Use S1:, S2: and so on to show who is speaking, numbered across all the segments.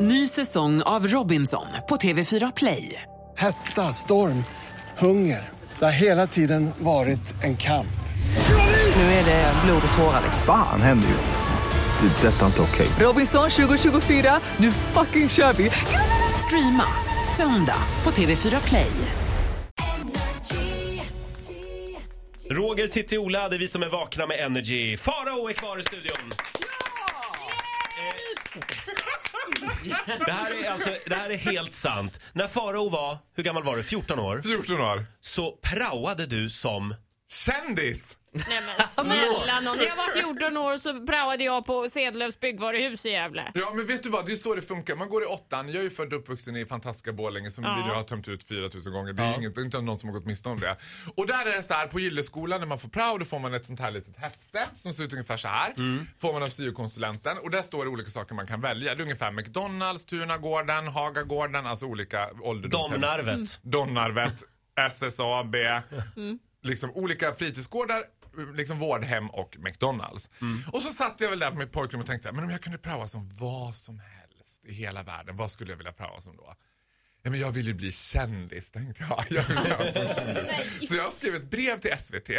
S1: Ny säsong av Robinson på TV4 Play.
S2: Hetta, storm, hunger. Det har hela tiden varit en kamp.
S1: Nu är det blod och tårar.
S3: Fan händer just nu. Det. är Detta är inte okej.
S1: Robinson 2024, nu fucking kör vi! Streama söndag på TV4 Play.
S4: Roger, Titti, Ola, det är vi som är vakna med Energy. Farao är kvar i studion. Ja! Det här, är alltså, det här är helt sant. När Farao var, hur gammal var du? 14 år?
S5: 14 år.
S4: Så praoade du som...
S5: Kändis!
S6: Nej men snälla nån. När jag var 14 år så praoade jag på Sedlövs byggvaruhus i Gävle.
S5: Ja, men vet du vad? Det är så det funkar. Man går i åttan. Jag är ju född och uppvuxen i fantastiska Borlänge som
S6: Ja.
S5: vi nu har tömt ut 4000 gånger. Det är
S4: Ja.
S5: inget, det är inte någon som har gått miste om det. Och där är det så här, på gylleskolan när man får prao, då får man ett sånt här litet häfte som ser ut ungefär så här. Får man av syokonsulenten och där står det olika saker man kan välja. Det är ungefär McDonalds, Tunagården, Hagagården, alltså olika ålderdomshem.
S4: Domnarvet.
S5: Domnarvet, SSAB, liksom olika fritidsgårdar, liksom vårdhem och McDonalds. Och så satt jag väl där på mitt pojkrum och tänkte så här, men om jag kunde praoa som vad som helst i hela världen, vad skulle jag vilja praoa som då? Ja, men jag vill ju bli kändis, tänkte jag. jag vill bli som kändis. Så jag skrev ett brev till SVT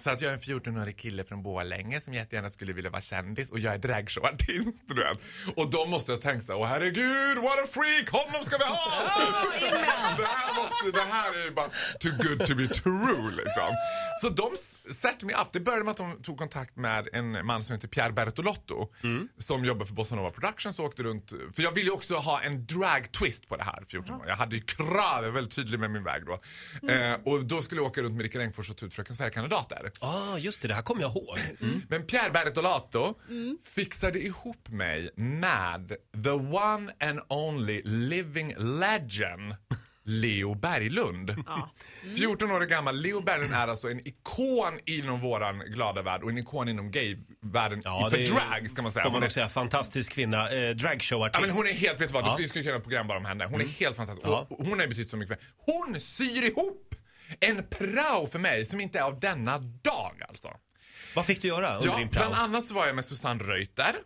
S5: så att jag är en 14-årig kille från Borlänge som jättegärna skulle vilja vara kändis och jag är dragshowartist, du vet. Och de måste jag tänka så här, åh herregud, what a freak, honom ska vi ha! Typ. det, här måste, det här är ju bara too good to be true liksom. Så de s- set me up. Det började med att de tog kontakt med en man som heter Pierre Bertolotto som jobbar för Bossanova Productions och åkte runt. För jag ville ju också ha en drag twist på det här 14 år. Jag hade ju krav, jag var väldigt tydlig med min väg då. Eh, och då skulle jag åka runt med Rickard Engfors och ta ut Fröken Sverige-kandidater.
S4: Ah, just det. Det här kommer jag ihåg.
S5: Men Pierre Bertolato fixade ihop mig med the one and only living legend Leo Berglund. 14 år gammal. Leo Berglund är alltså en ikon inom våran glada värld och en ikon inom gayvärlden för
S4: det är-
S5: drag ska man säga.
S4: Får
S5: Hon
S4: man
S5: är-
S4: också säga. Fantastisk kvinna. Eh,
S5: Ja,
S4: Dragshowartist.
S5: men hon är helt, vet du vad,
S4: Ja. Mm.
S5: vi skulle kunna göra ett program bara om henne. Hon är helt fantastisk.
S4: Ja.
S5: Och hon har ju betytt så mycket för Hon syr ihop en prao för mig som inte är av denna dag alltså.
S4: Vad fick du göra under
S5: Ja,
S4: din prao?
S5: bland annat så var jag med Susanne Reuter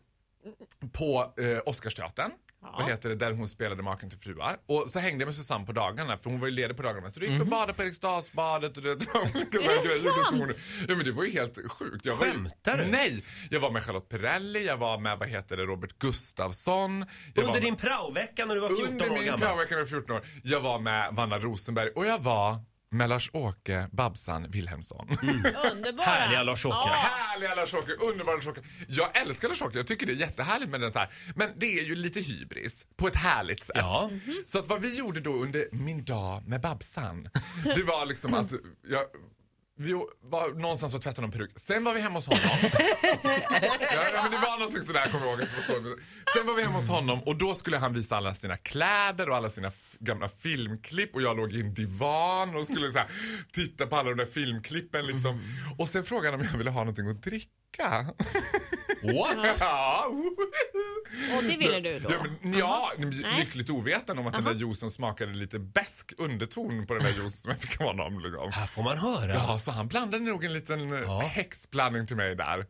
S5: på eh, Oscarsteatern. Vad heter det? Där hon spelade Maken till fruar. Och så hängde jag med Susanne på dagarna, för hon var ju ledig på dagarna. Så du
S4: Mhm.
S5: gick och badade på Eriksdalsbadet och du vet, olika
S6: Är det
S5: grejer som hon-
S6: sant?
S5: Ja men det var ju helt sjukt. Jag var ju-
S4: Skämtar du?
S5: Nej! Jag var med Charlotte Perrelli, jag var med, vad heter det, Robert Gustafsson. Jag var
S4: Under
S5: med-
S4: din praovecka när du var 14
S5: under
S4: år
S5: min
S4: gammal?
S5: praovecka när jag var 14 år. Jag var med Vanna Rosenberg och jag var med Lars-Åke Babsan Wilhelmsson.
S4: Mm.
S6: Underbara.
S4: Härliga Lars-Åke.
S6: Ja.
S5: Härliga Lars-Åke, underbara Lars-Åke. Jag älskar Lars-Åke, jag tycker det är jättehärligt med den så här. Men det är ju lite hybris, på ett härligt sätt.
S4: Ja.
S5: Så att vad vi gjorde då under min dag med Babsan, det var liksom att jag, vi var någonstans och tvättade någon peruk. Sen var vi hemma hos honom. ja, ja, men det var någonting sådär, jag kommer ihåg. att det var så. Sen var vi hemma hos honom och då skulle han visa alla sina kläder och alla sina f- gamla filmklipp och jag låg i en divan och skulle så här, titta på alla de där filmklippen liksom. Och sen frågade han om jag ville ha någonting att dricka.
S4: What?
S5: ja,
S6: Och det ville du då?
S5: Ja, men, ja
S6: Nej.
S5: lyckligt ovetande om att den där juicen smakade lite bäsk underton på den där juicen som jag fick av honom. Liksom.
S4: Här får man höra.
S5: Ja, så han blandade nog en liten
S4: Ja.
S5: ja. häxblandning till mig där.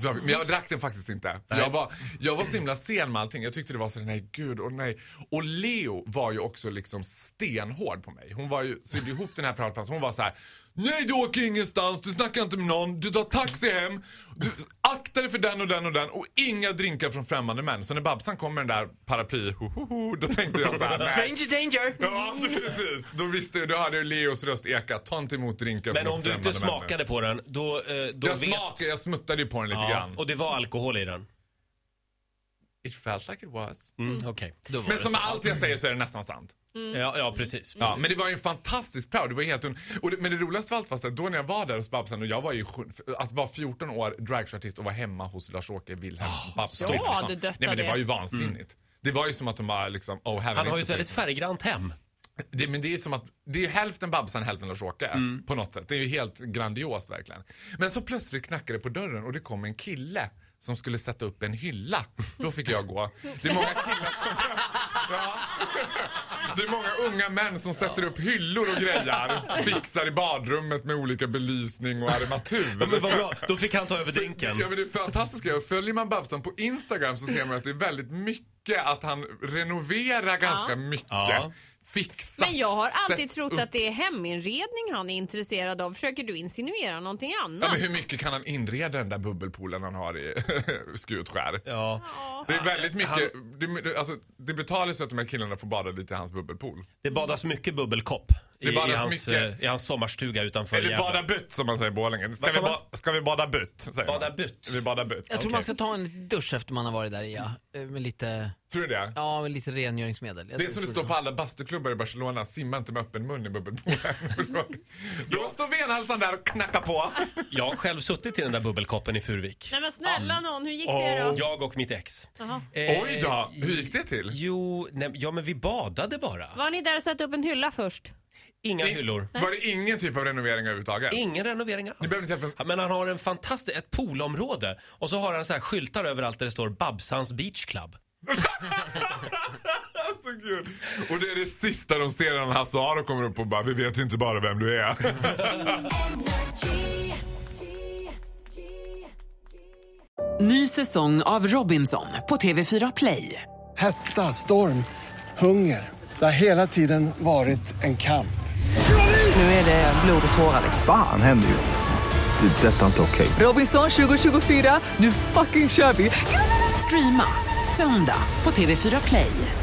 S5: Så jag, men jag drack den faktiskt inte. För
S4: Nej.
S5: jag, var, jag var så himla sen med allting. Jag tyckte det var så här, nej gud och nej. Och Leo var ju också liksom stenhård på mig. Hon var ju, sydde ihop den här pratplatsen. Hon var så här. Nej du åker ingenstans, du snackar inte med någon, du tar taxi hem. Du aktar dig för den och den och den och inga drinkar från främmande män. Så när Babsan kom med den där paraply, ho, ho, ho, då tänkte jag så här. Nej.
S4: Stranger danger!
S5: Ja, alltså, precis. Då visste jag, då hade ju Leos röst ekat. Ta inte emot drinkar
S4: Men
S5: från
S4: om du inte
S5: främmande
S4: smakade
S5: människor.
S4: på den, då, eh, då
S5: Jag
S4: vet...
S5: smakade, jag smuttade ju på den lite
S4: Ja,
S5: grann.
S4: och det var alkohol i den?
S5: It felt like it was.
S4: Mm, okej. Då var
S5: Men
S4: det
S5: som
S4: så.
S5: med allt jag säger så är det nästan sant.
S4: Ja, ja precis.
S5: Ja,
S4: precis.
S5: men det var ju en fantastisk prao. Det var helt un... och det, men det roligaste av allt var så här, då när jag var där hos Babsan och jag var ju sju- att vara 14 år dragshowartist och vara hemma hos Lars-Åke Wilhelm
S4: Ah,
S5: Babsan.
S6: ja,
S5: Wilhelmsson.
S6: du döttar
S5: Nej men det
S6: det.
S5: var ju vansinnigt. Det var ju som att de bara liksom, oh, heaven
S4: Mm. Han
S5: is
S4: har ju
S5: a
S4: ett väldigt
S5: place.
S4: färggrant hem.
S5: Det, men det är ju som att det är ju hälften Babsan, hälften Lars-Åke.
S4: Mm.
S5: På något sätt. Det är ju helt grandiost verkligen. Men så plötsligt knackade det på dörren och det kom en kille som skulle sätta upp en hylla. Då fick jag gå. Det är många killar som... Ja. Det är många unga män som sätter upp hyllor och grejer. Fixar i badrummet med olika belysning och armatur.
S4: Ja, men vad bra, då fick han ta över drinken.
S5: Ja men det är fantastiska är att följer man Babsan på Instagram så ser man att det är väldigt mycket mycket att han renoverar ganska mycket.
S4: Ja.
S5: Fixas.
S6: Men jag har alltid
S5: sätts
S6: trott
S5: upp.
S6: att det är heminredning han är intresserad av. Försöker du insinuera någonting annat?
S5: Ja, men hur mycket kan han inreda den där bubbelpoolen han har i Skutskär?
S4: Ja.
S5: Det är väldigt mycket. Det, det- alltså, det betalar så att de här killarna får bada lite i hans bubbelpool.
S4: Det badas mycket bubbelkopp i,
S5: Det badas
S4: i, hans,
S5: mycket.
S4: eh, i hans sommarstuga utanför
S5: Eller
S4: Gävle.
S5: bada butt som man säger i Borlänge. Ska,
S4: Vad
S5: vi,
S4: sa
S5: ba- ska vi bada butt? Säger
S4: Bada
S5: man.
S4: butt.
S5: Vi bada butt.
S7: Jag tror
S5: Okej.
S7: man ska ta en dusch efter man har varit där i, ja. Eh, Med lite,
S5: Tror du det?
S7: ja, med lite rengöringsmedel. Jag
S5: Det är
S7: tror-
S5: som det
S7: tror
S5: står på alla bastuklubbar i Barcelona, simma inte med öppen mun i bubbelpoolen. Då står venhalsan där och knackar på.
S4: Jag har själv suttit i den där bubbelkoppen i Furvik.
S6: Nej men snälla någon, hur gick det då?
S4: Jag och mitt ex.
S6: Jaha.
S4: Eh,
S5: Oj då, hur gick det till?
S4: Jo, nej, ja men vi badade bara.
S6: Var ni där och satte upp en hylla först?
S4: Inga
S5: I-
S4: hyllor.
S5: Var det ingen typ av renovering överhuvudtaget?
S4: Ingen renovering alls.
S5: behöver inte hjälpa-
S4: Ja, Men han har en fantastisk, ett poolområde och så har han så här skyltar överallt där det står Babsans Beach Club.
S5: Så kul. Och det är det sista de ser när Hasse Aro kommer upp och bara Vi vet inte bara vem du är.
S1: Ny säsong av Robinson på TV4 Play.
S2: Hetta, storm, hunger. Det har hela tiden varit en kamp.
S1: Nu är det blod och tårar. liksom.
S3: Fan händer just nu. Det. är Detta är inte okej.
S1: Robinson 2024, nu fucking kör vi! Streama söndag på TV4 Play.